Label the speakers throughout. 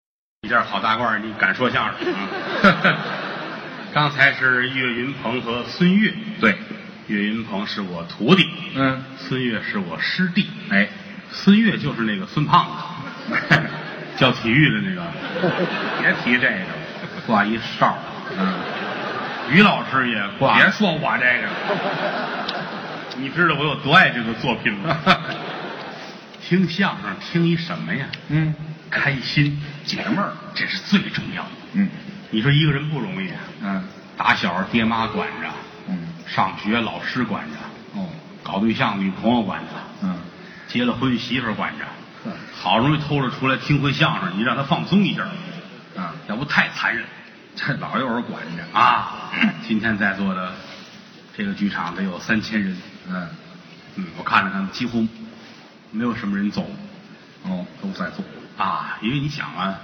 Speaker 1: 你这儿好大褂儿，你敢说相声啊？刚才是岳云鹏和孙越，
Speaker 2: 对，
Speaker 1: 岳云鹏是我徒弟，
Speaker 2: 嗯，
Speaker 1: 孙越是我师弟。
Speaker 2: 哎，
Speaker 1: 孙越就是那个孙胖 子，教体育的那个，别提这个，挂一哨儿。
Speaker 2: 嗯，
Speaker 1: 于老师也挂，
Speaker 2: 别说我这 个，
Speaker 1: 你知道我有多爱这个作品 吗？听相声听一什么呀？
Speaker 2: 嗯
Speaker 1: 开心解闷儿，这是最重要的。
Speaker 2: 嗯
Speaker 1: 你说一个人不容易啊，
Speaker 2: 嗯
Speaker 1: 打小爹妈管着，
Speaker 2: 嗯，
Speaker 1: 上学老师管着，
Speaker 2: 哦，
Speaker 1: 搞对象女朋友管着，
Speaker 2: 嗯，
Speaker 1: 结了婚媳妇儿管着，
Speaker 2: 呵
Speaker 1: 好容易偷着出来听回相声，你让他放松一下，
Speaker 2: 啊，
Speaker 1: 要不太残忍
Speaker 2: 这老有人管着，
Speaker 1: 啊！ 今天在座的这个剧场得有三千人，
Speaker 2: 嗯，
Speaker 1: 嗯，我看了看，几乎没有什么人走
Speaker 2: 哦，都在做，
Speaker 1: 啊，因为你想啊，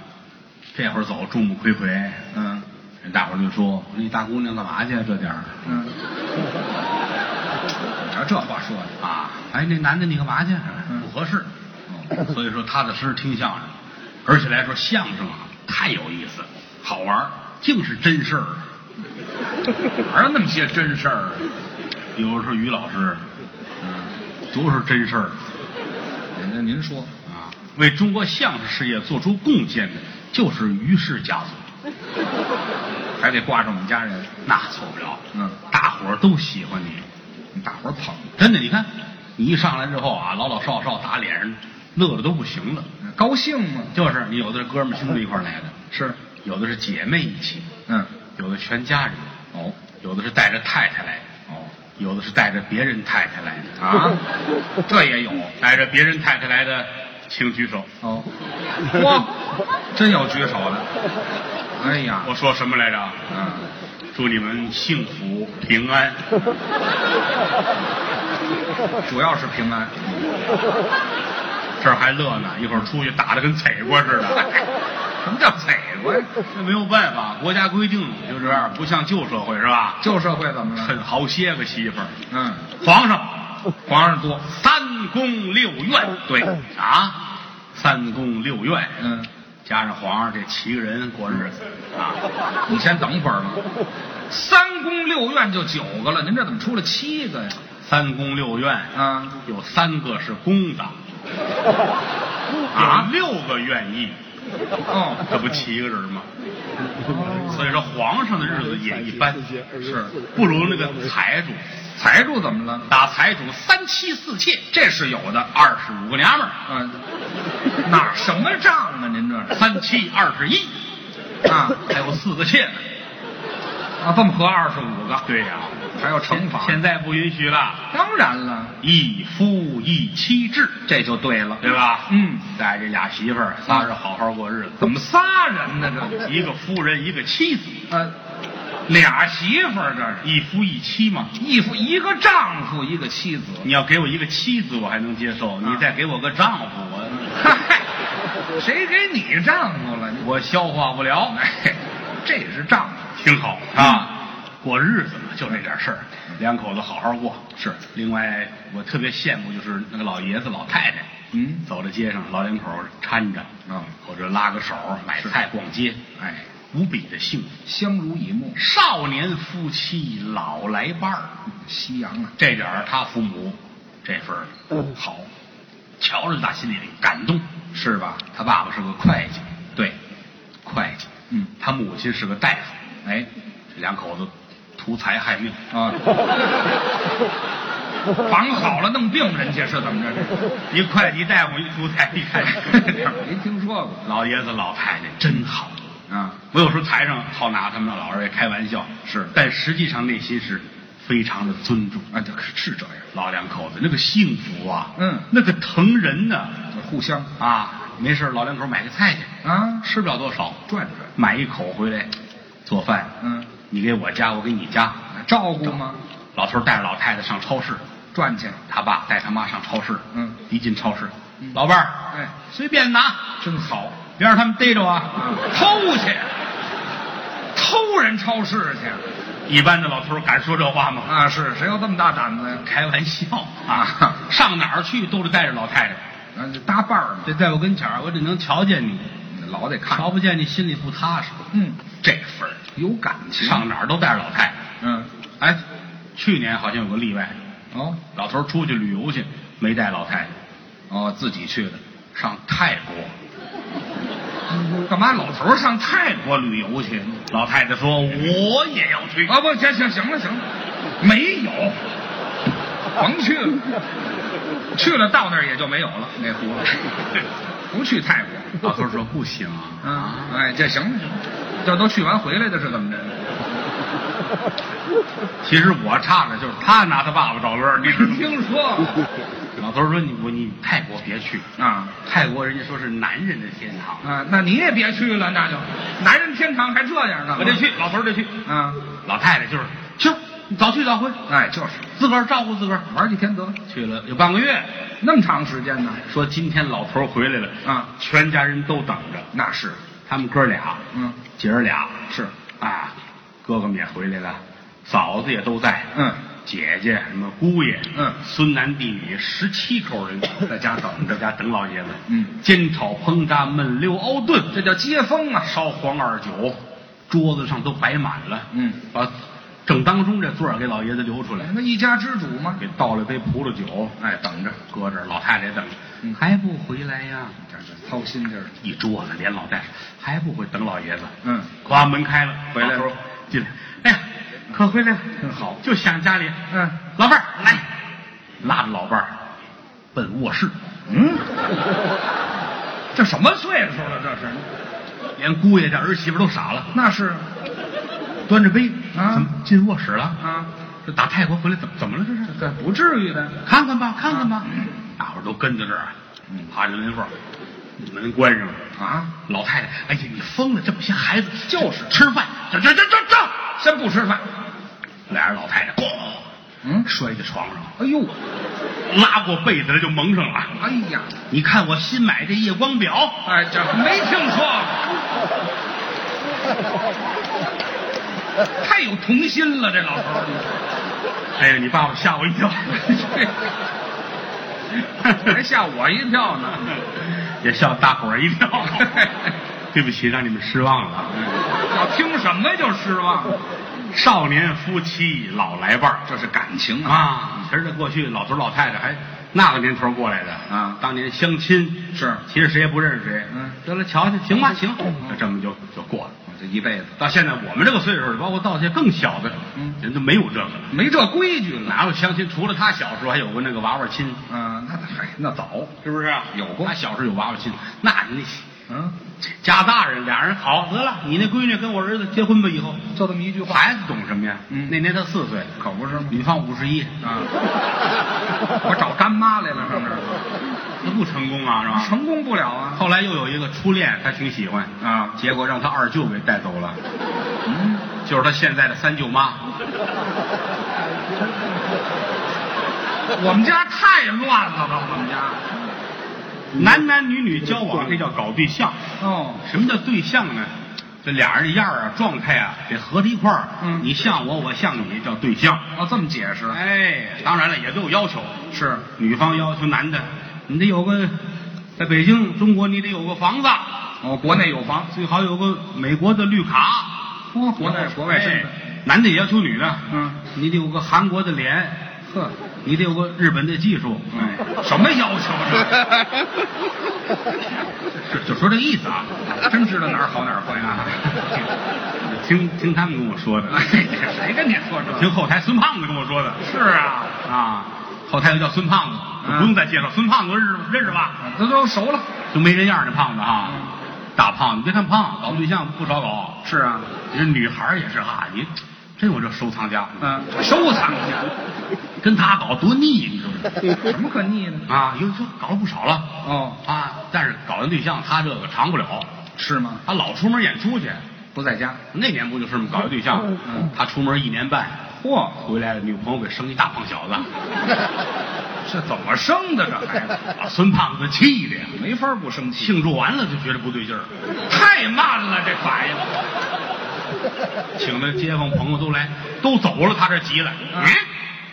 Speaker 1: 这会儿走众目睽睽，
Speaker 2: 嗯
Speaker 1: 人大伙儿就说：“你大姑娘干嘛去啊？这点儿
Speaker 2: 嗯，你瞧这话说的，
Speaker 1: 啊，哎，那男的你干嘛去？
Speaker 2: 嗯
Speaker 1: 不合适。嗯
Speaker 2: 哦，
Speaker 1: 所以说，踏踏实实听相声，而且来说相声啊，太有意思，好玩儿，净是真事儿。
Speaker 2: 哪有那么些真事儿啊？
Speaker 1: 有时候于老师
Speaker 2: 嗯，
Speaker 1: 多是真事儿
Speaker 2: 那您说，
Speaker 1: 啊！为中国相声事业做出贡献的，就是于氏家 族，
Speaker 2: 还得挂上我们家人，
Speaker 1: 那错不了。
Speaker 2: 嗯，
Speaker 1: 大伙儿都喜欢你，
Speaker 2: 大伙儿捧，
Speaker 1: 真的。你看，你一上来之后啊，老老少少打脸上，乐的都不行了。
Speaker 2: 高兴吗？
Speaker 1: 就是你有的是哥们儿兄弟一块儿来的，
Speaker 2: 是，
Speaker 1: 有的是姐妹一起，
Speaker 2: 嗯，
Speaker 1: 有的全家人，
Speaker 2: 哦
Speaker 1: 有的是带着太太来的，
Speaker 2: 哦
Speaker 1: 有的是带着别人太太来 的
Speaker 2: 啊，这也有
Speaker 1: 带着别人太太来的，请举手。
Speaker 2: 哦， 哇，真有举手的，哎呀，
Speaker 1: 我说什么来着？
Speaker 2: 嗯。
Speaker 1: 祝你们幸福平安。
Speaker 2: 主要是平安。
Speaker 1: 这儿还乐呢，一会儿出去打的跟踩瓜似的。
Speaker 2: 什么叫踩过呀？
Speaker 1: 那没有办法，国家规定就这样，不像旧社会是吧？
Speaker 2: 旧社会怎么了？
Speaker 1: 趁 好些个媳妇儿，
Speaker 2: 嗯，
Speaker 1: 皇上
Speaker 2: 皇上多，
Speaker 1: 三宫六院，对啊，三宫六院，
Speaker 2: 嗯，
Speaker 1: 加上皇上这七个人过日子啊，
Speaker 2: 你先等会儿吧。三宫六院就九个了，您这怎么出了七个呀？
Speaker 1: 三宫六院
Speaker 2: 啊，
Speaker 1: 有三个是公 的，
Speaker 2: 啊
Speaker 1: 有六个愿意，
Speaker 2: 哦，
Speaker 1: 这不七个人吗？所以说皇上的日子也一般，
Speaker 2: 是
Speaker 1: 不如那个财主。
Speaker 2: 财主怎么了？
Speaker 1: 打财主三妻四妾，这是有的，二十五个娘们儿，
Speaker 2: 嗯，哪什么账啊？您这是
Speaker 1: 三妻二十一，
Speaker 2: 啊
Speaker 1: 还有四个妾呢。
Speaker 2: 啊，这么合二十五个，
Speaker 1: 对呀、
Speaker 2: 还要惩罚？
Speaker 1: 现在不允许了，
Speaker 2: 当然了，
Speaker 1: 一夫一妻制，
Speaker 2: 这就对了，
Speaker 1: 对吧？
Speaker 2: 嗯，
Speaker 1: 带着俩媳妇儿，仨人好好过日子，
Speaker 2: 怎么仨人呢？这
Speaker 1: 一个夫人，一个妻子，
Speaker 2: 呃，俩媳妇儿这是。
Speaker 1: 一夫一妻嘛。
Speaker 2: 一夫一个丈夫，一个妻子。
Speaker 1: 你要给我一个妻子，我还能接
Speaker 2: 啊
Speaker 1: 受；你再给我个丈夫，我
Speaker 2: 嗨，谁给你丈夫了？你
Speaker 1: 我消化不了。
Speaker 2: 哎，这也是丈夫。
Speaker 1: 挺好啊，过日子嘛，就这点事儿，两口子好好过。是，另外我特别羡慕就是那个老爷子老太太，
Speaker 2: 嗯
Speaker 1: 走在街上老两口搀着，
Speaker 2: 啊
Speaker 1: 或者拉个手买菜逛街，
Speaker 2: 哎，
Speaker 1: 无比的幸福。
Speaker 2: 相濡以沫，
Speaker 1: 少年夫妻老来伴儿，
Speaker 2: 夕阳啊，
Speaker 1: 这点儿他父母这份儿好，瞧着打心里感动。
Speaker 2: 是吧？
Speaker 1: 他爸爸是个会计，对，会计，
Speaker 2: 嗯
Speaker 1: 他母亲是个大夫，
Speaker 2: 哎，
Speaker 1: 这两口子图财害命。
Speaker 2: 啊，绑好了弄病人去是怎么着？这
Speaker 1: 一会计大夫一出台一看，
Speaker 2: 没听说过
Speaker 1: 老爷子老太太真好。
Speaker 2: 啊？
Speaker 1: 我有时候台上好拿他们老二位开玩笑，
Speaker 2: 是
Speaker 1: 但实际上内心是非常的尊重。
Speaker 2: 啊，这可是这样，
Speaker 1: 老两口子那个幸福啊，
Speaker 2: 嗯
Speaker 1: 那个疼人呢
Speaker 2: 互相
Speaker 1: 啊！没事儿老两口买个菜去，
Speaker 2: 啊
Speaker 1: 吃不了多少，
Speaker 2: 转转，
Speaker 1: 买一口回来做饭。
Speaker 2: 嗯，
Speaker 1: 你给我家，我给你家。
Speaker 2: 照顾吗？
Speaker 1: 老头儿带着老太太上超市，
Speaker 2: 赚去，
Speaker 1: 他爸带他妈上超市。
Speaker 2: 嗯
Speaker 1: 一进超市，
Speaker 2: 嗯
Speaker 1: 老伴儿，
Speaker 2: 哎，
Speaker 1: 随便拿。
Speaker 2: 真好，
Speaker 1: 别让他们逮着啊
Speaker 2: 嗯！偷去，偷人超市去。
Speaker 1: 一般的老头儿敢说这话吗？
Speaker 2: 啊，是谁有这么大胆子呀？
Speaker 1: 开玩笑啊！上哪儿去都得带着老太太。
Speaker 2: 啊，就搭伴儿嘛，
Speaker 1: 得在我跟前儿，我得能瞧见你。
Speaker 2: 老得看，
Speaker 1: 瞧不见你心里不踏实。
Speaker 2: 嗯，
Speaker 1: 这份儿
Speaker 2: 有感情。
Speaker 1: 上哪儿都带着老太太。
Speaker 2: 嗯，
Speaker 1: 哎，去年好像有个例外，
Speaker 2: 哦
Speaker 1: 老头儿出去旅游去，没带老太太，
Speaker 2: 哦，自己去的，
Speaker 1: 上泰国。
Speaker 2: 干嘛老头儿上泰国？
Speaker 1: 我旅游去，老太太说我也要去。
Speaker 2: 啊，不行行行了行了，没有，甭去了，去了到那儿也就没有了，那胡了，不去泰国。
Speaker 1: 老头儿说不行啊，
Speaker 2: 啊，哎，这行了，这都去完回来的是怎么着？
Speaker 1: 其实我差的就是他拿他爸爸找乐儿，你知道
Speaker 2: 没
Speaker 1: 吗？
Speaker 2: 听说
Speaker 1: 老头儿说你我你泰国别去，
Speaker 2: 过啊
Speaker 1: 泰国人家说是男人的天堂，
Speaker 2: 啊，那你也别去了，那就男人天堂还这样呢？
Speaker 1: 我得去，老头儿得去。嗯
Speaker 2: 啊，
Speaker 1: 老太太就是去，你早去早回，
Speaker 2: 哎，就是
Speaker 1: 自个儿照顾自个儿。
Speaker 2: 玩几天得了，
Speaker 1: 去了有半个月，
Speaker 2: 那么长时间呢？
Speaker 1: 说今天老头儿回来了
Speaker 2: 啊
Speaker 1: 全家人都等着。
Speaker 2: 那是，
Speaker 1: 他们哥俩，
Speaker 2: 嗯，
Speaker 1: 姐儿俩
Speaker 2: 是，
Speaker 1: 啊，哥哥们也回来了，嫂子也都在，
Speaker 2: 嗯，
Speaker 1: 姐姐什么姑爷，
Speaker 2: 嗯
Speaker 1: 孙男弟女十七口 人在家等着，在家等老爷子，
Speaker 2: 嗯，
Speaker 1: 煎炒烹炸焖溜熬炖，
Speaker 2: 这叫接风啊。
Speaker 1: 烧黄二酒，桌子上都摆满了，
Speaker 2: 嗯，
Speaker 1: 把正当中这座儿给老爷子留出来，
Speaker 2: 那一家之主嘛，
Speaker 1: 给倒了杯葡萄酒，
Speaker 2: 哎，等着，
Speaker 1: 搁这儿，老太太也等着，
Speaker 2: 嗯
Speaker 1: 还不回来呀？
Speaker 2: 这是操心劲儿。
Speaker 1: 一桌子连老带还不回等老爷子，
Speaker 2: 嗯，
Speaker 1: 咵门开了，
Speaker 2: 回来了
Speaker 1: 老头儿进来，哎呀，可回来了，
Speaker 2: 真好
Speaker 1: 就想家里。
Speaker 2: 嗯，
Speaker 1: 老伴儿来，拉着老伴儿奔卧室，
Speaker 2: 嗯， 这什么岁数了？这是，
Speaker 1: 连姑爷这儿媳妇都傻了，
Speaker 2: 那是
Speaker 1: 端着杯
Speaker 2: 啊
Speaker 1: 怎么进卧室了？
Speaker 2: 啊，
Speaker 1: 这打泰国回来怎么怎么了？这是
Speaker 2: 这不至于的。
Speaker 1: 看看吧，看看吧，
Speaker 2: 嗯
Speaker 1: 大伙儿都跟着这儿啊，爬着门缝儿，门关上了。
Speaker 2: 啊，
Speaker 1: 老太太，哎呀，你疯了！这不些孩子
Speaker 2: 就是
Speaker 1: 吃饭，这这这这这，
Speaker 2: 先不吃饭。
Speaker 1: 俩人老太太咣
Speaker 2: 嗯，
Speaker 1: 摔在床上了。
Speaker 2: 哎呦，
Speaker 1: 拉过被子来就蒙上了。
Speaker 2: 哎呀，
Speaker 1: 你看我新买这夜光表，
Speaker 2: 哎，这没听说过，太有童心了，这老头儿，
Speaker 1: 哎呀，你爸爸吓我一跳，
Speaker 2: 还吓我一跳呢。
Speaker 1: 也吓大伙儿一跳。 对不起，让你们失望了。
Speaker 2: 我听什么就失望了，
Speaker 1: 少年夫妻老来伴儿
Speaker 2: 这是感情啊！
Speaker 1: 啊，其实这过去老头老太太还那个年头过来的
Speaker 2: 啊
Speaker 1: 当年相亲
Speaker 2: 是
Speaker 1: 其实谁也不认识谁。
Speaker 2: 嗯，
Speaker 1: 得了，瞧瞧，行吧，行，就这么就就过了。
Speaker 2: 我这一辈子
Speaker 1: 到现在我们这个岁数，包括到现在更小的，
Speaker 2: 嗯
Speaker 1: 人都没有这个了。
Speaker 2: 没这规矩了。
Speaker 1: 哪有相亲？除了他小时候还有过那个娃娃亲，
Speaker 2: 嗯，那嗨，那早，
Speaker 1: 是不是、啊？
Speaker 2: 有过
Speaker 1: 他小时候有娃娃亲，那你
Speaker 2: 嗯，
Speaker 1: 家大人俩人好得了，你那闺女跟我儿子结婚吧，以后
Speaker 2: 就这么一句话，
Speaker 1: 孩子懂什么呀？
Speaker 2: 嗯
Speaker 1: 那年他四岁，
Speaker 2: 可不是吗？
Speaker 1: 女方五十一，
Speaker 2: 啊，我找干妈来了，上这儿
Speaker 1: 那不成功啊，是吧？
Speaker 2: 成功不了啊。
Speaker 1: 后来又有一个初恋，他挺喜欢，
Speaker 2: 啊，
Speaker 1: 结果让他二舅给带走了，
Speaker 2: 嗯，
Speaker 1: 就是他现在的三舅妈。
Speaker 2: 我们家太乱了吧，我们家。
Speaker 1: 男男女女交往，这叫搞对象。
Speaker 2: 哦，
Speaker 1: 什么叫对象呢？这俩人样儿啊，状态啊，得合在一块儿。
Speaker 2: 嗯
Speaker 1: 你像我，我像你，叫对象。
Speaker 2: 哦，这么解释
Speaker 1: 哎，当然了，也都有要求，
Speaker 2: 是
Speaker 1: 女方要求男的，你得有个，在北京中国你得有个房子，
Speaker 2: 哦，国内有房，
Speaker 1: 最好有个美国的绿卡。
Speaker 2: 嚯，国内国外身份，
Speaker 1: 哎男的也要求女的，
Speaker 2: 嗯，
Speaker 1: 你得有个韩国的脸，
Speaker 2: 呵，
Speaker 1: 你得有个日本的技术，
Speaker 2: 哎，什么要求这？
Speaker 1: 啊是就说这意思啊。
Speaker 2: 真知道哪儿好哪儿坏啊！
Speaker 1: 听听他们跟我说的，
Speaker 2: 哎，这谁跟你说 这？
Speaker 1: 听后台孙胖子跟我说的。
Speaker 2: 是啊，
Speaker 1: 啊，后台又叫孙胖子，
Speaker 2: 嗯
Speaker 1: 我不用再介绍，孙胖子认识认识吧？
Speaker 2: 这啊都熟了。
Speaker 1: 就没人样儿那胖子哈，大胖子，别看胖，搞对象不少搞。
Speaker 2: 是啊，
Speaker 1: 你这女孩儿也是哈，你真有这收藏家，
Speaker 2: 嗯，收藏家，
Speaker 1: 跟他搞多腻，你知 道
Speaker 2: 什么可腻呢？
Speaker 1: 吗？啊，有就搞了不少了
Speaker 2: 哦，
Speaker 1: 啊，但是搞完对象，他这个长不了，
Speaker 2: 是吗？
Speaker 1: 他老出门演出去。
Speaker 2: 不在家。
Speaker 1: 那年不就是吗？搞一对象，
Speaker 2: 嗯
Speaker 1: 他出门一年半，
Speaker 2: 嚯，
Speaker 1: 回来了女朋友给生一大胖小子，哎
Speaker 2: 这怎么生的这孩子？啊
Speaker 1: 把孙胖子气的呀！
Speaker 2: 没法不生气，
Speaker 1: 庆祝完了就觉得不对劲儿，
Speaker 2: 太慢了这反应。
Speaker 1: 请的街
Speaker 2: 啊
Speaker 1: 坊朋友都来，都走了，他这急了，
Speaker 2: 嗯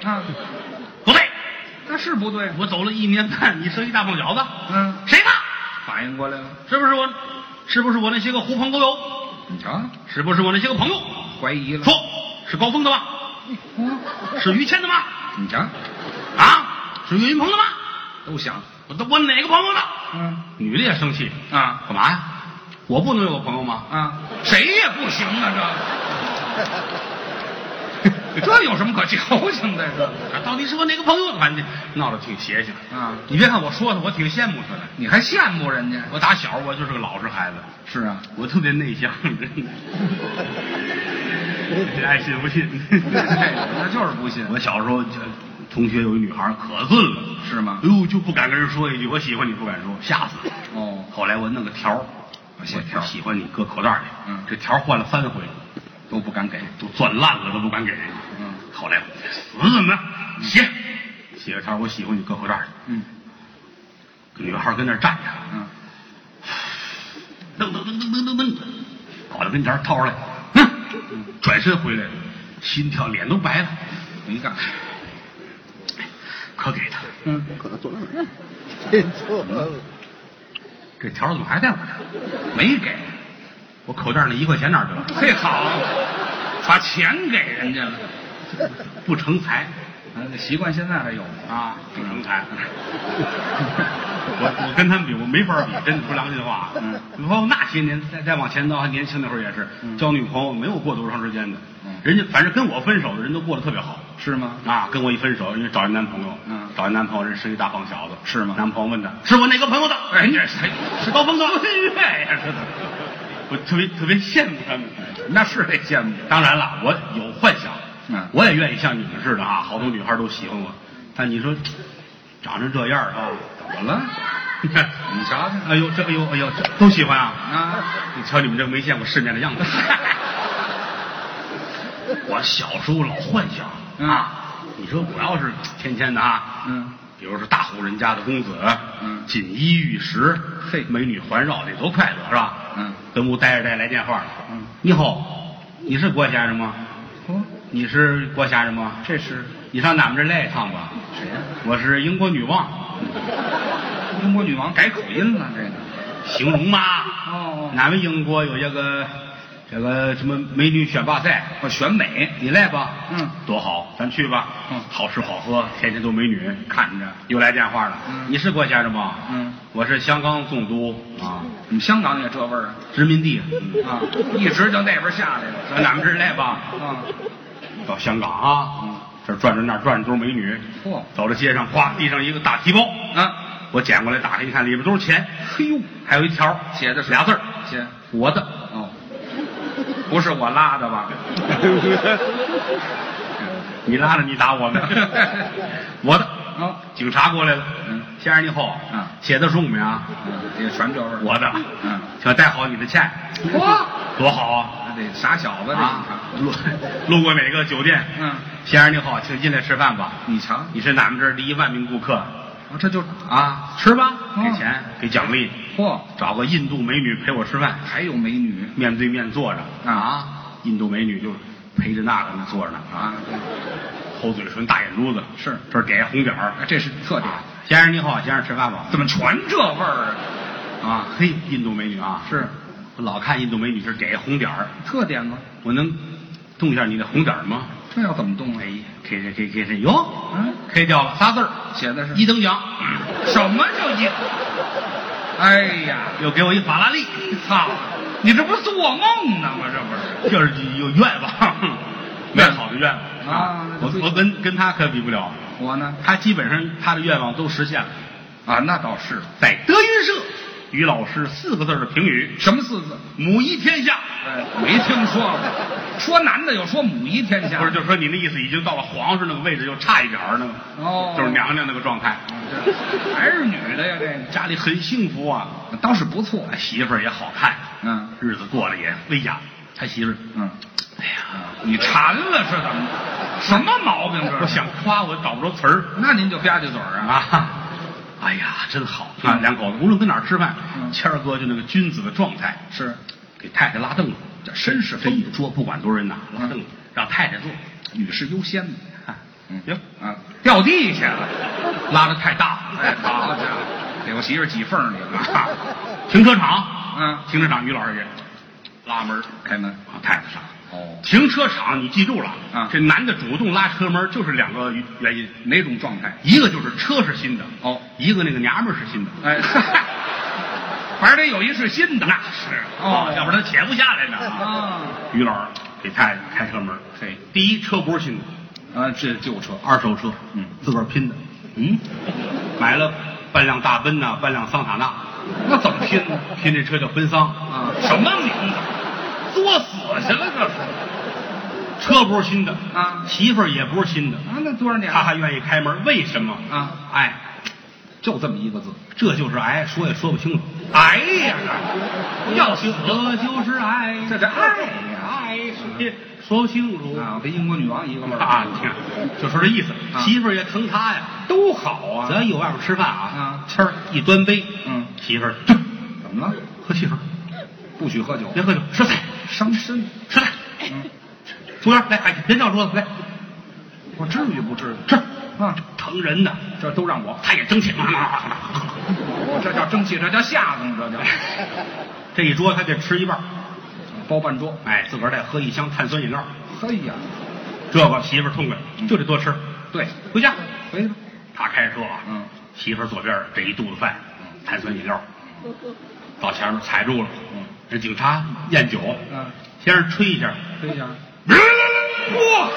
Speaker 1: 嗯，
Speaker 2: 啊，
Speaker 1: 不对，
Speaker 2: 那是不对。
Speaker 1: 我走了一年半，你生一大胖小子，
Speaker 2: 嗯，
Speaker 1: 谁怕？
Speaker 2: 反应过来了。
Speaker 1: 是不是我？是不是我那些个狐朋狗友？
Speaker 2: 你瞧，
Speaker 1: 是不是我那些个朋友？
Speaker 2: 怀疑了。嗯
Speaker 1: 说，是高峰的吗？是于谦的吗？
Speaker 2: 你瞧，
Speaker 1: 啊，是岳云鹏的吗？
Speaker 2: 都想，
Speaker 1: 我的我哪个朋友的？
Speaker 2: 嗯
Speaker 1: 女的也生气，
Speaker 2: 啊
Speaker 1: 干嘛呀？我不能有个朋友吗？
Speaker 2: 啊，谁也不行啊，这这有什么可矫情的？这
Speaker 1: 啊到底是我哪个朋友的？反正闹得挺邪性。
Speaker 2: 啊，
Speaker 1: 你别看我说他，我挺羡慕他的。
Speaker 2: 你还羡慕人家？
Speaker 1: 我打小我就是个老实孩子，
Speaker 2: 是 啊，
Speaker 1: 我特别内向，真的。 你爱信不信？
Speaker 2: 那哎就是不信，
Speaker 1: 我小时候就同学有一女孩可顺了，
Speaker 2: 是吗
Speaker 1: 哎呦，就不敢跟人说一句我喜欢你，不敢说，吓死了。
Speaker 2: 哦
Speaker 1: 后来我弄个条儿我
Speaker 2: 写条儿
Speaker 1: 我喜欢你，搁口袋里。
Speaker 2: 嗯
Speaker 1: 这条儿换了三回了，
Speaker 2: 都不敢给。
Speaker 1: 都攥烂了都不敢给人家。
Speaker 2: 嗯
Speaker 1: 后来死怎么样？写写个条儿我喜欢你，搁口袋里。
Speaker 2: 嗯
Speaker 1: 女孩儿跟那儿站着，
Speaker 2: 嗯，
Speaker 1: 噔噔噔噔噔噔噔，跑到跟前儿掏出来，嗯，转身回来了，心跳脸都白了，
Speaker 2: 没干。
Speaker 1: 可给他了。
Speaker 2: 嗯，
Speaker 3: 可能做 那儿，这错了。
Speaker 1: 这条儿怎么还在我这儿？没给，我口袋儿那一块钱哪儿去了？
Speaker 2: 嘿 好，把钱给人家了。
Speaker 1: 不成才
Speaker 2: 啊，这习惯现在还有吗？
Speaker 1: 啊，不成才。 我我跟他们比，我没法比，真的说良心话。啊
Speaker 2: 嗯，
Speaker 1: 包括那些年，再再往前倒，还年轻那会儿也是、
Speaker 2: 嗯
Speaker 1: 交女朋友，没有过多长时间的。
Speaker 2: 嗯
Speaker 1: 人家反正跟我分手的人都过得特别好。
Speaker 2: 是吗？
Speaker 1: 啊，跟我一分手，人家找一男朋友，
Speaker 2: 嗯
Speaker 1: 找一男朋友，人是一大胖小子，
Speaker 2: 是吗
Speaker 1: 男朋友问他，是我哪个朋友的？嗯
Speaker 2: 哎你这谁
Speaker 1: 是高峰的，哎呀，是的，我特别特别羡慕他们。
Speaker 2: 哎那是得羡慕。
Speaker 1: 当然了，我有幻想，
Speaker 2: 嗯
Speaker 1: 我也愿意像你们似的啊，好多女孩都喜欢我，但你说长成这样儿 啊，
Speaker 2: 怎么了？
Speaker 1: 你看，
Speaker 2: 哦你瞧瞧
Speaker 1: 哎呦，这哎呦哎呦，这都喜欢啊！
Speaker 2: 啊，
Speaker 1: 你瞧你们这没见过世面的 样子。我小时候老幻想、
Speaker 2: 嗯
Speaker 1: 啊，你说我要是天天的啊，
Speaker 2: 嗯，
Speaker 1: 比如说大户人家的公子，
Speaker 2: 嗯
Speaker 1: 锦衣玉食，
Speaker 2: 嘿
Speaker 1: 美女环绕，得多快乐是吧？
Speaker 2: 嗯，
Speaker 1: 跟屋待着待着来电话了，
Speaker 2: 嗯，
Speaker 1: 你好，你是郭先生吗？
Speaker 2: 哦，
Speaker 1: 你是郭先生吗？
Speaker 2: 这是
Speaker 1: 你上俺们这儿来一趟吧。
Speaker 2: 谁呀、
Speaker 1: 我是英国女王，
Speaker 2: 英国女王改口音了，这个。
Speaker 1: 形容嘛，
Speaker 2: 哦
Speaker 1: 俺们英国有一个这个什么美女选拔赛，
Speaker 2: 我选美，
Speaker 1: 你来吧，
Speaker 2: 嗯
Speaker 1: 多好，咱去吧，
Speaker 2: 嗯
Speaker 1: 好吃好喝，天天都美女，看着又来电话了，
Speaker 2: 嗯
Speaker 1: 你是郭先生吗？
Speaker 2: 嗯，
Speaker 1: 我是香港总督啊，
Speaker 2: 你们香港也这味儿啊？
Speaker 1: 殖民地，嗯
Speaker 2: 啊，一直就那边下来
Speaker 1: 上
Speaker 2: 了。
Speaker 1: 俺们这儿来吧，
Speaker 2: 啊，
Speaker 1: 到香港啊，这儿转转那儿转转都是美女，
Speaker 2: 嗯嚯
Speaker 1: 走到街上，咵，地上一个大提包，
Speaker 2: 啊，
Speaker 1: 我捡过来打开一看，里边都是钱，
Speaker 2: 嘿呦，
Speaker 1: 还有一条儿
Speaker 2: 写的是
Speaker 1: 俩字儿，
Speaker 2: 写
Speaker 1: 我的。
Speaker 2: 哦，不是我拉的 吧？嗯
Speaker 1: 你拉着你打我 们，我的。
Speaker 2: 啊，
Speaker 1: 警察过来了，
Speaker 2: 嗯
Speaker 1: 先生你好，
Speaker 2: 嗯
Speaker 1: 写的是我们啊，
Speaker 2: 嗯也全这味儿。
Speaker 1: 我的，
Speaker 2: 嗯
Speaker 1: 请带好你的钱，
Speaker 2: 嚯，
Speaker 1: 多好啊！
Speaker 2: 那得傻小子这一
Speaker 1: 啊
Speaker 2: 看，，
Speaker 1: 路路过哪个酒店？
Speaker 2: 嗯，
Speaker 1: 先生你好，请进来吃饭吧。
Speaker 2: 你瞧，
Speaker 1: 你是俺们这儿的一万名顾客
Speaker 2: 啊这就
Speaker 1: 啊，吃吧，
Speaker 2: 哦
Speaker 1: 给钱给奖励，
Speaker 2: 嚯，
Speaker 1: 找个印度美女陪我吃饭，
Speaker 2: 还有美女
Speaker 1: 面对面坐着，
Speaker 2: 啊
Speaker 1: 印度美女就陪着那个呢坐着呢啊
Speaker 2: 啊，，
Speaker 1: 厚嘴唇大眼珠子，
Speaker 2: 是
Speaker 1: 这儿点一红点儿。
Speaker 2: 啊这是特点。
Speaker 1: 先生你好，先生吃饭吧。
Speaker 2: 怎么全这味儿
Speaker 1: 啊，嘿，印度美女啊
Speaker 2: 啊？，是
Speaker 1: 我老看印度美女是点一红点儿，
Speaker 2: 特点吗？
Speaker 1: 我能动一下你的红点儿吗？啊
Speaker 2: 这要怎么动哎？
Speaker 1: 开开开开开，哟，
Speaker 2: 嗯，
Speaker 1: 开掉了仨字儿，
Speaker 2: 写的是
Speaker 1: 一等奖，
Speaker 2: 什么叫一？哎呀，
Speaker 1: 又给我一法拉利，
Speaker 2: 操！你这不是做梦呢吗？这不是？
Speaker 1: 就是有愿望，美好的愿望
Speaker 2: 啊
Speaker 1: 我我跟跟他可比不了，
Speaker 2: 我呢？
Speaker 1: 他基本上他的愿望都实现了。
Speaker 2: 啊，那倒是。
Speaker 1: 在德云社，于老师四个字儿的评语：
Speaker 2: 什么四字？
Speaker 1: 母仪天下。
Speaker 2: 哎，没听说过。说男的有说母仪天下，
Speaker 1: 不是，就说你那意思已经到了皇上那个位置，又差一点儿那个，
Speaker 2: 哦
Speaker 1: 就是娘娘那个状态。
Speaker 2: 这还是女的呀？这
Speaker 1: 家里很幸福啊，
Speaker 2: 个倒是不错。哎
Speaker 1: 媳妇儿也好看，
Speaker 2: 嗯
Speaker 1: 日子过得也，哎呀，他媳妇儿，
Speaker 2: 嗯，
Speaker 1: 哎呀，
Speaker 2: 你馋了是怎么着？什么毛病这是？
Speaker 1: 我想夸我找不着词儿
Speaker 2: 那您就吧唧嘴儿啊。
Speaker 1: 啊，哎呀，真好啊，
Speaker 2: 嗯
Speaker 1: 两口子无论跟哪儿吃饭，
Speaker 2: 嗯
Speaker 1: 谦儿哥就那个君子的状态，
Speaker 2: 是，
Speaker 1: 给太太拉凳子，这绅士这一桌不管多少人呐，嗯拉凳子让太太坐，
Speaker 2: 女士优先嘛。
Speaker 1: 啊
Speaker 2: 嗯
Speaker 1: 行，
Speaker 2: 啊，掉地下了。
Speaker 1: 拉的太大了，
Speaker 2: 哎
Speaker 1: 啊
Speaker 2: 哎，好家伙，给我媳妇儿挤缝里了。
Speaker 1: 停车场，
Speaker 2: 嗯
Speaker 1: 停车场于老师也拉门
Speaker 2: 开门
Speaker 1: 往啊太太上。
Speaker 2: 哦，
Speaker 1: 停车场你记住了
Speaker 2: 啊
Speaker 1: 这男的主动拉车门就是两个原因，
Speaker 2: 哪种状态？
Speaker 1: 一个就是车是新的，
Speaker 2: 哦，
Speaker 1: 一个那个娘们儿是新的。
Speaker 2: 哎，反正得有一是新的，那是
Speaker 1: 啊
Speaker 2: 哦，
Speaker 1: 要不然他且不下来呢。
Speaker 2: 啊，
Speaker 1: 于老师给太太开车门，
Speaker 2: 嘿，
Speaker 1: 第一车不是新的，
Speaker 2: 啊，这旧车
Speaker 1: 二手车，
Speaker 2: 嗯
Speaker 1: 自个儿拼的，嗯，买了半辆大奔呐、半辆桑塔纳，
Speaker 2: 那怎么拼呢？
Speaker 1: 拼这车叫奔桑
Speaker 2: 啊
Speaker 1: 什么名字？
Speaker 2: 作死去了这是
Speaker 1: 车不是新的
Speaker 2: 啊
Speaker 1: 媳妇儿也不是新的，
Speaker 2: 啊，那多少年
Speaker 1: 他
Speaker 2: 了？
Speaker 1: 还愿意开门，为什么
Speaker 2: 啊？
Speaker 1: 哎，
Speaker 2: 就这么一个字，
Speaker 1: 这就是癌，说也说不清楚。
Speaker 2: 哎呀，要死！
Speaker 1: 这就是癌，
Speaker 2: 这这爱呀
Speaker 1: 癌是说不清楚
Speaker 2: 啊，跟英国女王一个味儿
Speaker 1: 啊！你看，就说这意思，
Speaker 2: 啊
Speaker 1: 媳妇儿也疼他呀。
Speaker 2: 都好啊
Speaker 1: 只。要一有外边吃饭啊
Speaker 2: 啊，
Speaker 1: 谦儿一端杯，
Speaker 2: 嗯，
Speaker 1: 媳妇儿去
Speaker 2: 怎么了？
Speaker 1: 喝汽水，
Speaker 2: 不许喝酒，
Speaker 1: 别喝酒，吃菜，
Speaker 2: 伤身。
Speaker 1: 吃菜。
Speaker 2: 嗯，
Speaker 1: 服务员，来，哎，别照桌子，来
Speaker 2: 我至于不至于？
Speaker 1: 吃，
Speaker 2: 啊，
Speaker 1: 嗯疼人的，
Speaker 2: 这都让我，
Speaker 1: 他也争气。
Speaker 2: 我这叫争气，这叫下风，这 叫
Speaker 1: 这一桌他得吃一半儿，
Speaker 2: 包办桌。
Speaker 1: 哎，自个儿再喝一箱碳酸饮料，
Speaker 2: 嘿呀，
Speaker 1: 这个媳妇儿痛快，嗯就得多吃。
Speaker 2: 对，
Speaker 1: 回家，
Speaker 2: 回去吧。
Speaker 1: 他开车啊，
Speaker 2: 嗯，
Speaker 1: 媳妇儿左边儿这一肚子饭，碳酸饮料，到前面踩住了，
Speaker 2: 嗯，
Speaker 1: 人警察验酒，
Speaker 2: 嗯，
Speaker 1: 先生吹一下，
Speaker 2: 回家。
Speaker 1: 哇，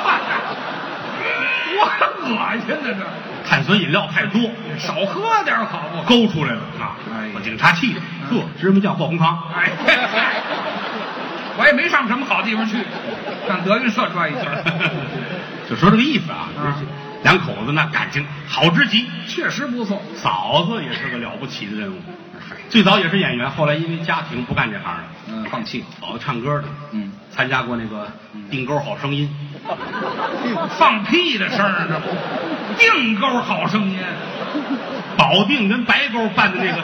Speaker 2: 我恶心呢，
Speaker 1: 碳酸饮料太多，
Speaker 2: 这少喝点好不好？
Speaker 1: 勾出来了啊！
Speaker 2: 哎呀
Speaker 1: 把警察气的，
Speaker 2: 嗯
Speaker 1: 呵，芝麻酱爆红糖，
Speaker 2: 哎，嘿嗨我也没上什么好地方去，上德云社转一圈，
Speaker 1: 就说这个意思啊。
Speaker 2: 啊
Speaker 1: 两口子那感情好之极，
Speaker 2: 确实不错。
Speaker 1: 嫂子也是个了不起的人物，最早也是演员，后来因为家庭不干这行了。
Speaker 2: 哎嗯，放弃。
Speaker 1: 嫂子唱歌的，
Speaker 2: 嗯，
Speaker 1: 参加过那个定沟好声音，
Speaker 2: 放屁的声儿，这不定钩好声音。
Speaker 1: 保定跟白沟办的那 个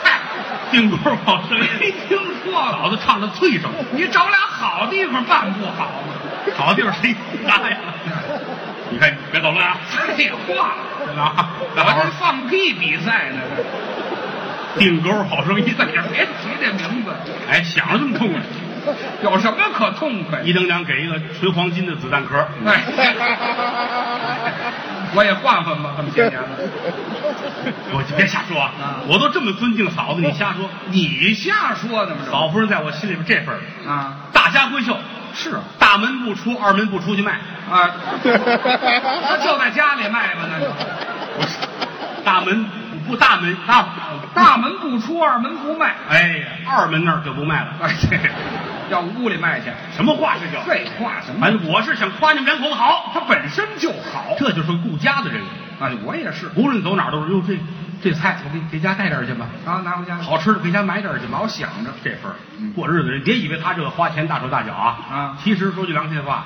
Speaker 1: 定沟好声音，
Speaker 2: 没听说过，
Speaker 1: 嫂子唱的脆声，
Speaker 2: 你找俩好地方办不好吗？
Speaker 1: 好地方谁搭呀？你看，别走了啊！
Speaker 2: 废话，
Speaker 1: 啊，
Speaker 2: 我
Speaker 1: 大伙
Speaker 2: 这
Speaker 1: 儿
Speaker 2: 放屁比赛呢，
Speaker 1: 定沟好声音
Speaker 2: 这在这别提这名字，
Speaker 1: 哎，想着这么痛快，
Speaker 2: 有什么可痛快？
Speaker 1: 一等奖给一个纯黄金的子弹壳，
Speaker 2: 哎， 我也换换吧，这么些年了。
Speaker 1: 哎我就别瞎说啊
Speaker 2: 啊！哦
Speaker 1: 我都这么尊敬嫂子，你瞎说。
Speaker 2: 你瞎说呢吗？这
Speaker 1: 嫂夫人在我心里边这份儿
Speaker 2: 啊，
Speaker 1: 大家闺秀，
Speaker 2: 是啊，
Speaker 1: 大门不出，二门不出去卖，
Speaker 2: 啊，那就在家里卖吧，那就
Speaker 1: 大门不大门啊，
Speaker 2: 大门不出，二门不卖。
Speaker 1: 哎呀，二门那儿就不卖了。
Speaker 2: 哎，这要屋里卖去，
Speaker 1: 什么话这叫？
Speaker 2: 废话什么？
Speaker 1: 反正我是想夸你们两口子好，
Speaker 2: 他本身就好。
Speaker 1: 这就是个顾家的人，
Speaker 2: 啊，我也是
Speaker 1: 无论走哪儿都是哟，这这菜我给给家带点儿去吧，
Speaker 2: 啊，拿回家
Speaker 1: 好吃的给家买点儿去吧。
Speaker 2: 老想着
Speaker 1: 这份儿
Speaker 2: 嗯
Speaker 1: 过日子，人别以为他这个花钱大手大脚啊
Speaker 2: 啊
Speaker 1: 其实说句良心话，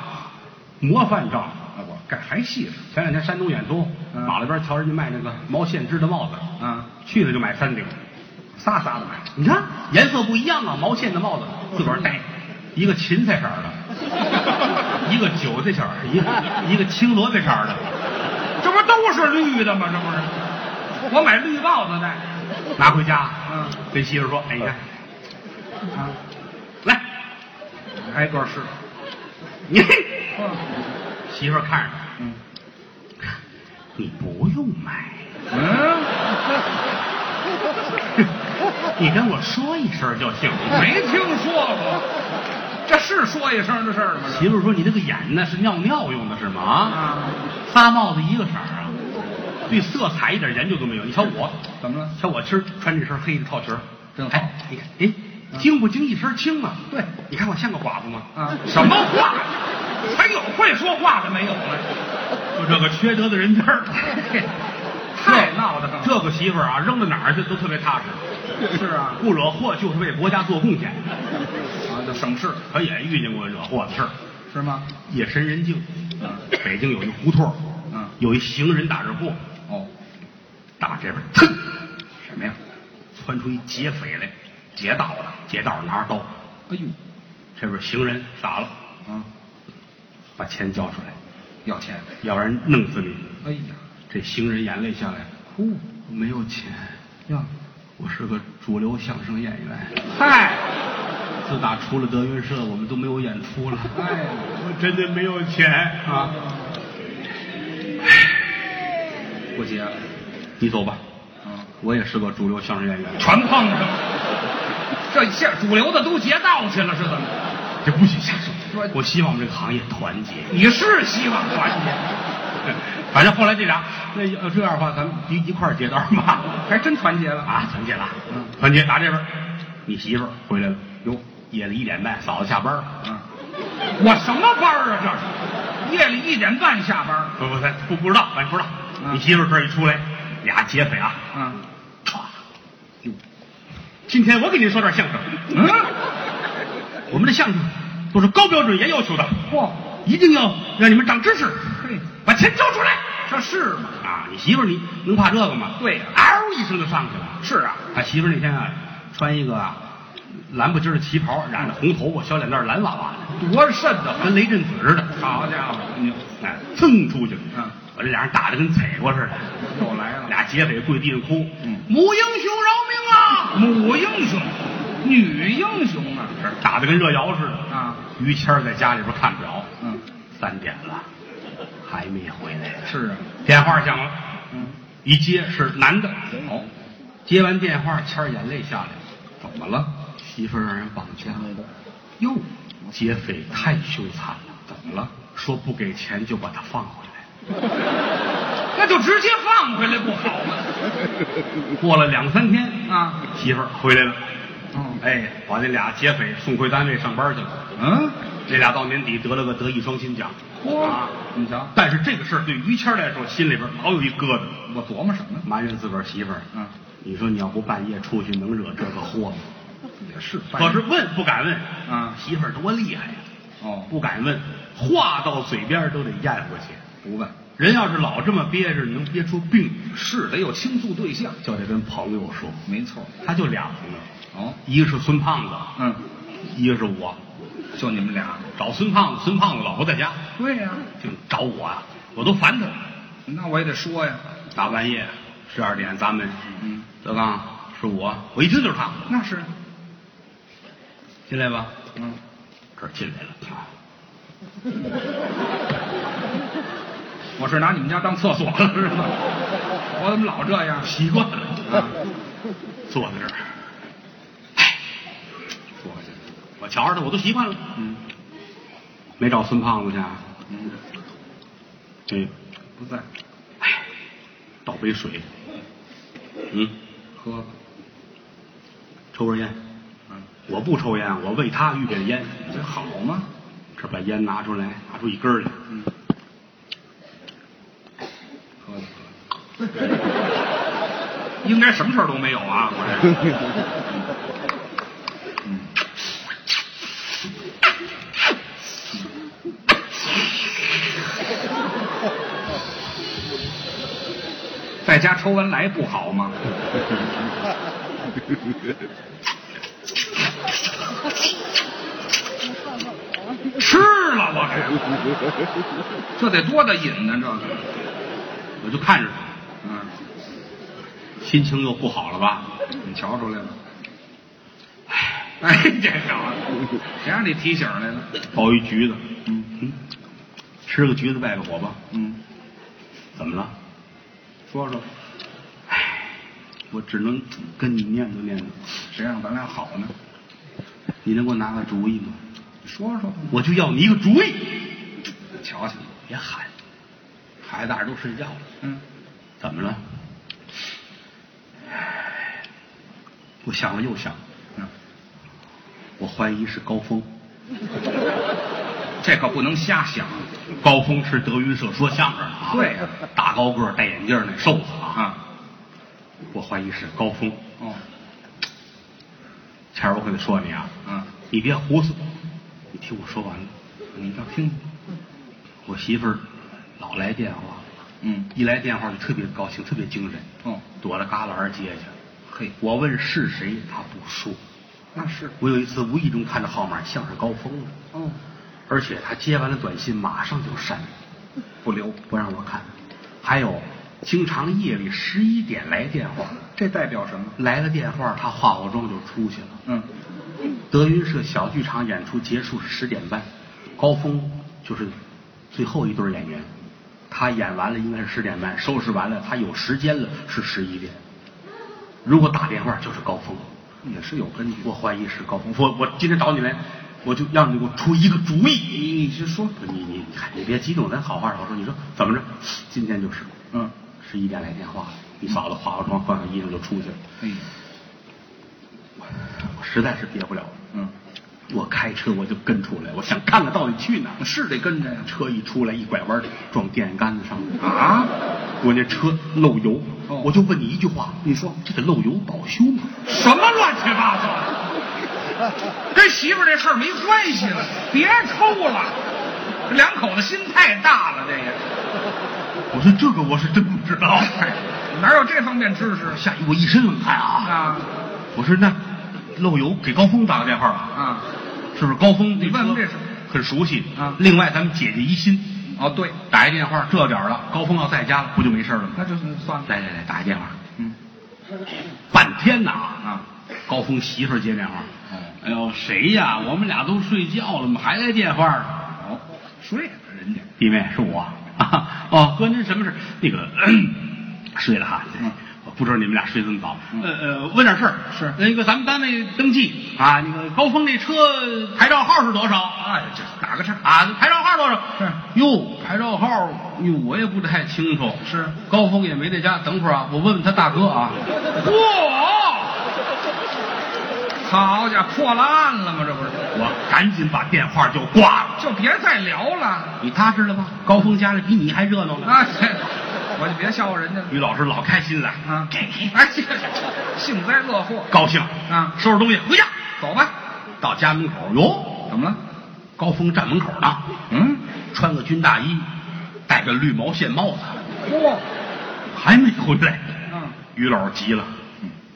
Speaker 1: 模范账。
Speaker 2: 啊，我干还细致
Speaker 1: 前两天山东远东
Speaker 2: 嗯
Speaker 1: 马路边瞧人家卖那个毛线织的帽子，
Speaker 2: 啊，
Speaker 1: 去了就买三顶，
Speaker 2: 仨仨的买，
Speaker 1: 你看颜色不一样啊，毛线的帽子自个儿戴，一个芹菜色儿 的，一个韭菜色儿，一个一个青萝卜色儿的，
Speaker 2: 这不都是绿的吗？这不是，我买绿帽子戴
Speaker 1: 拿回家，
Speaker 2: 嗯
Speaker 1: 跟媳妇说，哎，你看，
Speaker 2: 啊，
Speaker 1: 来，
Speaker 2: 挨个试。
Speaker 1: 你
Speaker 2: 嗯
Speaker 1: 媳妇儿看着他，
Speaker 2: 嗯
Speaker 1: 你不用买。
Speaker 2: 嗯，
Speaker 1: 你跟我说一声就行。
Speaker 2: 没听说过，这是说一声的事儿吗？
Speaker 1: 媳妇儿说：“你那个眼呢是尿尿用的是吗？
Speaker 2: 这
Speaker 1: 啊，
Speaker 2: 啊，
Speaker 1: 仨帽子一个色儿啊，对色彩一点研究都没有。你瞧我，
Speaker 2: 怎么了？
Speaker 1: 瞧我今儿穿这身黑的套裙儿，
Speaker 2: 真好嗯
Speaker 1: 哎，你看，哎，经不经一身轻啊？
Speaker 2: 对
Speaker 1: 你看我像个寡妇吗？
Speaker 2: 啊
Speaker 1: 什么话？
Speaker 2: 还有会说话的没有呢？
Speaker 1: 就这个缺德的人家 儿，
Speaker 2: 太闹腾了。
Speaker 1: 这个媳妇儿啊，扔到哪儿去都特别踏实，
Speaker 2: 这是啊，
Speaker 1: 不惹祸就是为国家做贡献。
Speaker 2: 啊，就省事
Speaker 1: 可也遇见过惹祸的事儿。
Speaker 2: 是吗？
Speaker 1: 夜深人静，
Speaker 2: 嗯
Speaker 1: 北京有一胡同儿，
Speaker 2: 嗯
Speaker 1: 有一行人打着过，
Speaker 2: 哦，
Speaker 1: 打这边儿，腾，
Speaker 2: 什么呀？
Speaker 1: 窜出一劫匪来，劫道的，劫道拿着刀，
Speaker 2: 哎呦，
Speaker 1: 这边行人傻了，
Speaker 2: 啊，
Speaker 1: 把钱交出来，
Speaker 2: 要钱？
Speaker 1: 要不然弄死你。
Speaker 2: 哎呀，
Speaker 1: 这行人眼泪下来了，
Speaker 2: 哭
Speaker 1: 我没有钱，
Speaker 2: 呀，
Speaker 1: 我是个主流相声演员。
Speaker 2: 嗨，
Speaker 1: 自打出了德云社，我们都没有演出了。
Speaker 2: 哎，
Speaker 1: 我真的没有钱啊！
Speaker 2: 不接了，
Speaker 1: 你走吧，
Speaker 2: 嗯，
Speaker 1: 我也是个主流相声演员。
Speaker 2: 全碰上了，这下主流的都劫道去了，是怎么着？
Speaker 1: 这不许瞎
Speaker 2: 说
Speaker 1: 说！我希望我们这个行业团结。
Speaker 2: 你是希望团结，
Speaker 1: 反正后来这俩，那要这样的话，咱们一一块儿接单吧。
Speaker 2: 还真团结了啊！
Speaker 1: 啊，团结了，
Speaker 2: 嗯
Speaker 1: 团结打这边儿，你媳妇儿回来了，哟，夜里一点半，嫂子下班儿，
Speaker 2: 啊，我什么班儿啊？这是夜里一点半下班儿。
Speaker 1: 不不不不知道，咱不知道。
Speaker 2: 嗯
Speaker 1: 你媳妇儿这儿一出来，俩劫匪啊，
Speaker 2: 啊，
Speaker 1: 哟，今天我给您说点相声，
Speaker 2: 嗯，
Speaker 1: 我们的相声都是高标准严要求的，
Speaker 2: 嚯，
Speaker 1: 一定要让你们长知识，
Speaker 2: 嘿，
Speaker 1: 把钱交出来。
Speaker 2: 这是吗？
Speaker 1: 啊，你媳妇儿你能怕这个吗？
Speaker 2: 对呀
Speaker 1: 嗷一声就上去了。
Speaker 2: 是啊，
Speaker 1: 他媳妇儿那天啊，穿一个啊蓝不筋儿的旗袍，染着红头发，小脸蛋儿蓝哇哇的，
Speaker 2: 多瘆得慌！
Speaker 1: 跟雷震子似的。
Speaker 2: 好家伙，
Speaker 1: 嗯，哎，蹭出去了。
Speaker 2: 嗯，
Speaker 1: 把这俩人打得跟贼过似的，
Speaker 2: 又来了，
Speaker 1: 俩劫匪跪地上哭，
Speaker 2: 嗯
Speaker 1: 母英雄饶命啊！
Speaker 2: 母英雄，女英雄啊！
Speaker 1: 这打得跟热窑似的。
Speaker 2: 啊，
Speaker 1: 于谦儿在家里边看表，
Speaker 2: 嗯，
Speaker 1: 三点了，还没回来。
Speaker 2: 是啊，
Speaker 1: 电话响了，
Speaker 2: 嗯，
Speaker 1: 一接是男的，
Speaker 2: 好，
Speaker 1: 接完电话，谦儿眼泪下来了，怎么了？媳妇儿让人绑架
Speaker 2: 嗯
Speaker 1: 了。哟，劫匪太凶残了，怎么了？说不给钱就把他放回来。
Speaker 2: 那就直接放回来不好吗？
Speaker 1: 过了两三天，
Speaker 2: 啊，
Speaker 1: 媳妇儿回来了，
Speaker 2: 哦，
Speaker 1: 哎，把这俩劫匪送回单位上班去了。
Speaker 2: 嗯，
Speaker 1: 这俩到年底得了个德艺双馨奖。
Speaker 2: 嚯
Speaker 1: 啊，
Speaker 2: 你瞧，
Speaker 1: 但是这个事儿对于谦儿来说，心里边老有一疙瘩，
Speaker 2: 我琢磨什么呢？
Speaker 1: 埋怨自个儿媳妇儿。
Speaker 2: 嗯，
Speaker 1: 你说你要不半夜出去，能惹这个祸吗？
Speaker 2: 也是，
Speaker 1: 可是问不敢问。
Speaker 2: 嗯
Speaker 1: 媳妇儿多厉害呀，
Speaker 2: 哦，
Speaker 1: 不敢问，话到嘴边儿都得咽回去。
Speaker 2: 不问，
Speaker 1: 人要是老这么憋着，能憋出病。
Speaker 2: 是得有倾诉对象，
Speaker 1: 就得跟朋友说，
Speaker 2: 没错。
Speaker 1: 他就俩朋友，
Speaker 2: 哦，
Speaker 1: 一个是孙胖子，
Speaker 2: 嗯，
Speaker 1: 一个是我。
Speaker 2: 就你们俩。
Speaker 1: 找孙胖子，孙胖子老不在家，
Speaker 2: 对呀、
Speaker 1: 就找我啊，我都烦他了。
Speaker 2: 那我也得说呀。
Speaker 1: 大半夜十二点，咱们
Speaker 2: 嗯，
Speaker 1: 德刚是我，我一听就是他，
Speaker 2: 那是，
Speaker 1: 进来吧，
Speaker 2: 嗯，
Speaker 1: 这儿进来了，啪
Speaker 2: 我是拿你们家当厕所了是吗？我怎么老这样？
Speaker 1: 习惯了，
Speaker 2: 啊，
Speaker 1: 坐在这儿，哎
Speaker 2: 坐下。
Speaker 1: 我瞧着他我都习惯了，
Speaker 2: 嗯
Speaker 1: 没找孙胖子去啊，
Speaker 2: 嗯，
Speaker 1: 嗯，
Speaker 2: 不在，
Speaker 1: 哎，倒杯水，嗯，
Speaker 2: 喝吧。
Speaker 1: 抽根烟，
Speaker 2: 嗯，
Speaker 1: 我不抽烟，我为他预备的烟，
Speaker 2: 这好吗？
Speaker 1: 这把烟拿出来，拿出一根儿来，
Speaker 2: 嗯，喝吧
Speaker 1: 应该什么事儿都没有啊，我这。
Speaker 2: 在家抽完来不好吗？吃了我这，这得多大瘾呢？这个，
Speaker 1: 我就看着他，
Speaker 2: 嗯，
Speaker 1: 心情又不好了吧？
Speaker 2: 你瞧出来了。哎，这好，谁让你提醒来了？
Speaker 1: 抱一橘子，
Speaker 2: 嗯
Speaker 1: 嗯，吃个橘子败个火吧。
Speaker 2: 嗯，
Speaker 1: 怎么了？
Speaker 2: 说说，
Speaker 1: 我只能跟你念叨念叨，
Speaker 2: 谁让咱俩好呢？
Speaker 1: 你能给我拿个主意吗？
Speaker 2: 说说吧，
Speaker 1: 我就要你一个主意。
Speaker 2: 瞧瞧，
Speaker 1: 别喊，孩子大人都睡觉了。
Speaker 2: 嗯，
Speaker 1: 怎么了？我想了又想，
Speaker 2: 嗯，
Speaker 1: 我怀疑是高峰。
Speaker 2: 这可不能瞎想
Speaker 1: 高峰是德云社说相声的啊，
Speaker 2: 对呀
Speaker 1: 大高个儿戴眼镜儿那瘦子啊，
Speaker 2: 啊。
Speaker 1: 我怀疑是高峰。
Speaker 2: 哦，
Speaker 1: 前儿我可得说你啊，
Speaker 2: 嗯，
Speaker 1: 你别胡思，你听我说完了。
Speaker 2: 你倒听，
Speaker 1: 我媳妇儿老来电话，
Speaker 2: 嗯，
Speaker 1: 一来电话就特别高兴，特别精神，
Speaker 2: 哦，
Speaker 1: 躲着旮旯儿接去。
Speaker 2: 嘿，
Speaker 1: 我问是谁，她不说。
Speaker 2: 那是，
Speaker 1: 我有一次无意中看着号码像是高峰的，
Speaker 2: 哦，
Speaker 1: 而且她接完了短信马上就删，
Speaker 2: 不留，
Speaker 1: 不让我看。还有，经常夜里十一点来电话，
Speaker 2: 这代表什么？
Speaker 1: 来了电话，他化好妆就出去了。
Speaker 2: 嗯，
Speaker 1: 德云社小剧场演出结束是十点半，高峰就是最后一对演员，他演完了应该是十点半，收拾完了他有时间了是十一点。如果打电话就是高峰，
Speaker 2: 也是有根据。
Speaker 1: 我怀疑是高峰。我我今天找你来，我就让你给我出一个主意。你你是说你你你看你别激动，咱好话好说。你说怎么着？今天就是
Speaker 2: 嗯，
Speaker 1: 十一点来电话，你嫂子化好妆 换上衣裳就出去了。
Speaker 2: 哎呀，
Speaker 1: 我实在是憋不了了。
Speaker 2: 嗯，
Speaker 1: 我开车我就跟出来，我想看看到底去哪儿。
Speaker 2: 是得跟着呀。
Speaker 1: 车一出来一拐弯撞电线杆子上了，
Speaker 2: 啊，
Speaker 1: 我那车漏油。
Speaker 2: 哦
Speaker 1: 我就问你一句话，你说这个漏油保修吗？
Speaker 2: 什么乱七八糟？跟媳妇儿这事儿没关系了，别抽了。这两口子心太大了，这也
Speaker 1: 我说这个我是真不知 道。
Speaker 2: 哪有这方面知识
Speaker 1: 吓一我一身冷汗啊！
Speaker 2: 啊？
Speaker 1: 我说那漏油给高峰打个电话吧，
Speaker 2: 啊，
Speaker 1: 是不是？高峰
Speaker 2: 你问问这事
Speaker 1: 很熟悉
Speaker 2: 啊
Speaker 1: 另外，咱们解解疑心，
Speaker 2: 哦对，
Speaker 1: 打一电话，这点儿了，高峰要在家了，不就没事了吗？
Speaker 2: 那就算了。
Speaker 1: 来来来，打一电话，
Speaker 2: 嗯
Speaker 1: 半天呐
Speaker 2: 啊，
Speaker 1: 高峰媳妇儿接电话
Speaker 2: 哦，
Speaker 1: 哎呦谁呀？我们俩都睡觉了，怎么还来电话呢？
Speaker 2: 哦，睡了人家。
Speaker 1: 弟妹是我。 啊哦，哥，您什么事？那个 咳睡了哈，
Speaker 2: 嗯
Speaker 1: 我不知道你们俩睡这么早。
Speaker 2: 嗯
Speaker 1: 呃呃，问点事儿
Speaker 2: 是
Speaker 1: 那个咱们单位登记啊，那个高峰那车牌照号是多少？
Speaker 2: 哎，这打个岔
Speaker 1: 啊，牌照号多少？
Speaker 2: 是
Speaker 1: 哟，牌照号，哟，我也不太清楚。
Speaker 2: 是
Speaker 1: 高峰也没在家，等会儿啊，我问问他大哥啊。
Speaker 2: 嚯！好家伙，破了案了吗？这不是，
Speaker 1: 我赶紧把电话就挂了。
Speaker 2: 就别再聊了。
Speaker 1: 你踏实了吧？高峰家里比你还热闹呢。
Speaker 2: 啊， 这我就别笑话人家了
Speaker 1: 于老师老开心了
Speaker 2: 啊
Speaker 1: 给你！
Speaker 2: 哎， 这这幸灾乐祸，
Speaker 1: 高兴
Speaker 2: 啊
Speaker 1: 收拾东西回家。
Speaker 2: 走吧。
Speaker 1: 到家门口，哟，
Speaker 2: 怎么了？
Speaker 1: 高峰站门口呢，
Speaker 2: 嗯，
Speaker 1: 穿个军大衣，戴个绿毛线帽子，
Speaker 2: 嚯，
Speaker 1: 还没回来。
Speaker 2: 嗯，
Speaker 1: 于老师急了，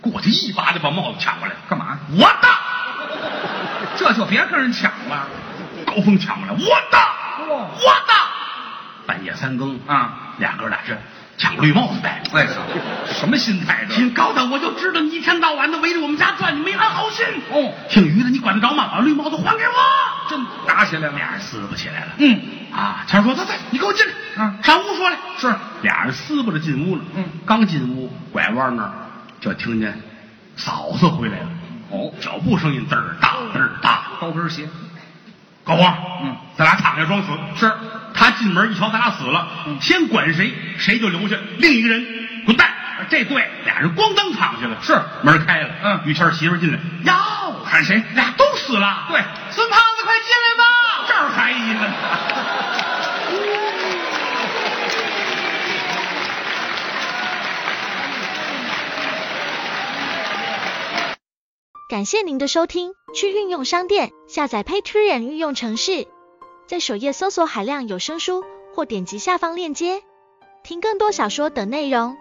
Speaker 1: 过去一巴掌把帽子抢过来，
Speaker 2: 干嘛？
Speaker 1: 我的！
Speaker 2: 这就别跟人抢了。
Speaker 1: 高峰抢过来，我的，
Speaker 2: 哇
Speaker 1: 我的！半夜三更
Speaker 2: 啊，
Speaker 1: 俩哥俩这抢绿帽子戴。
Speaker 2: 哎操，什么心态这？
Speaker 1: 挺高的，我就知道你一天到晚的围着我们家转，你没安好心。
Speaker 2: 哦
Speaker 1: 姓于的，你管得着吗？把绿帽子还给我！
Speaker 2: 真打起来了。
Speaker 1: 俩人撕巴起来了。
Speaker 2: 嗯，
Speaker 1: 啊，强说：“走走，你给我进来。”
Speaker 2: 嗯
Speaker 1: 上屋说来。
Speaker 2: 是
Speaker 1: 俩人撕巴着进屋了。
Speaker 2: 嗯
Speaker 1: 刚进屋，拐弯那儿就听见嫂子回来了，
Speaker 2: 哦，
Speaker 1: 脚步声音嘚儿大嘚儿大。
Speaker 2: 高跟鞋
Speaker 1: 高光，
Speaker 2: 嗯，
Speaker 1: 咱俩躺下装死。
Speaker 2: 是
Speaker 1: 他进门一瞧，咱俩死了，
Speaker 2: 嗯
Speaker 1: 先管谁，谁就留下，另一个人滚蛋。啊这对，俩人咣当躺下了。
Speaker 2: 是
Speaker 1: 门开了，
Speaker 2: 嗯
Speaker 1: 于谦儿媳妇儿进来，哟，
Speaker 2: 喊谁
Speaker 1: 俩都死了。
Speaker 2: 对
Speaker 1: 孙胖子快进来吧。
Speaker 2: 这儿还 一个。
Speaker 4: 感谢您的收听，去应用商店下载 Patreon 应用城市，在首页搜索海量有声书，或点击下方链接听更多小说等内容。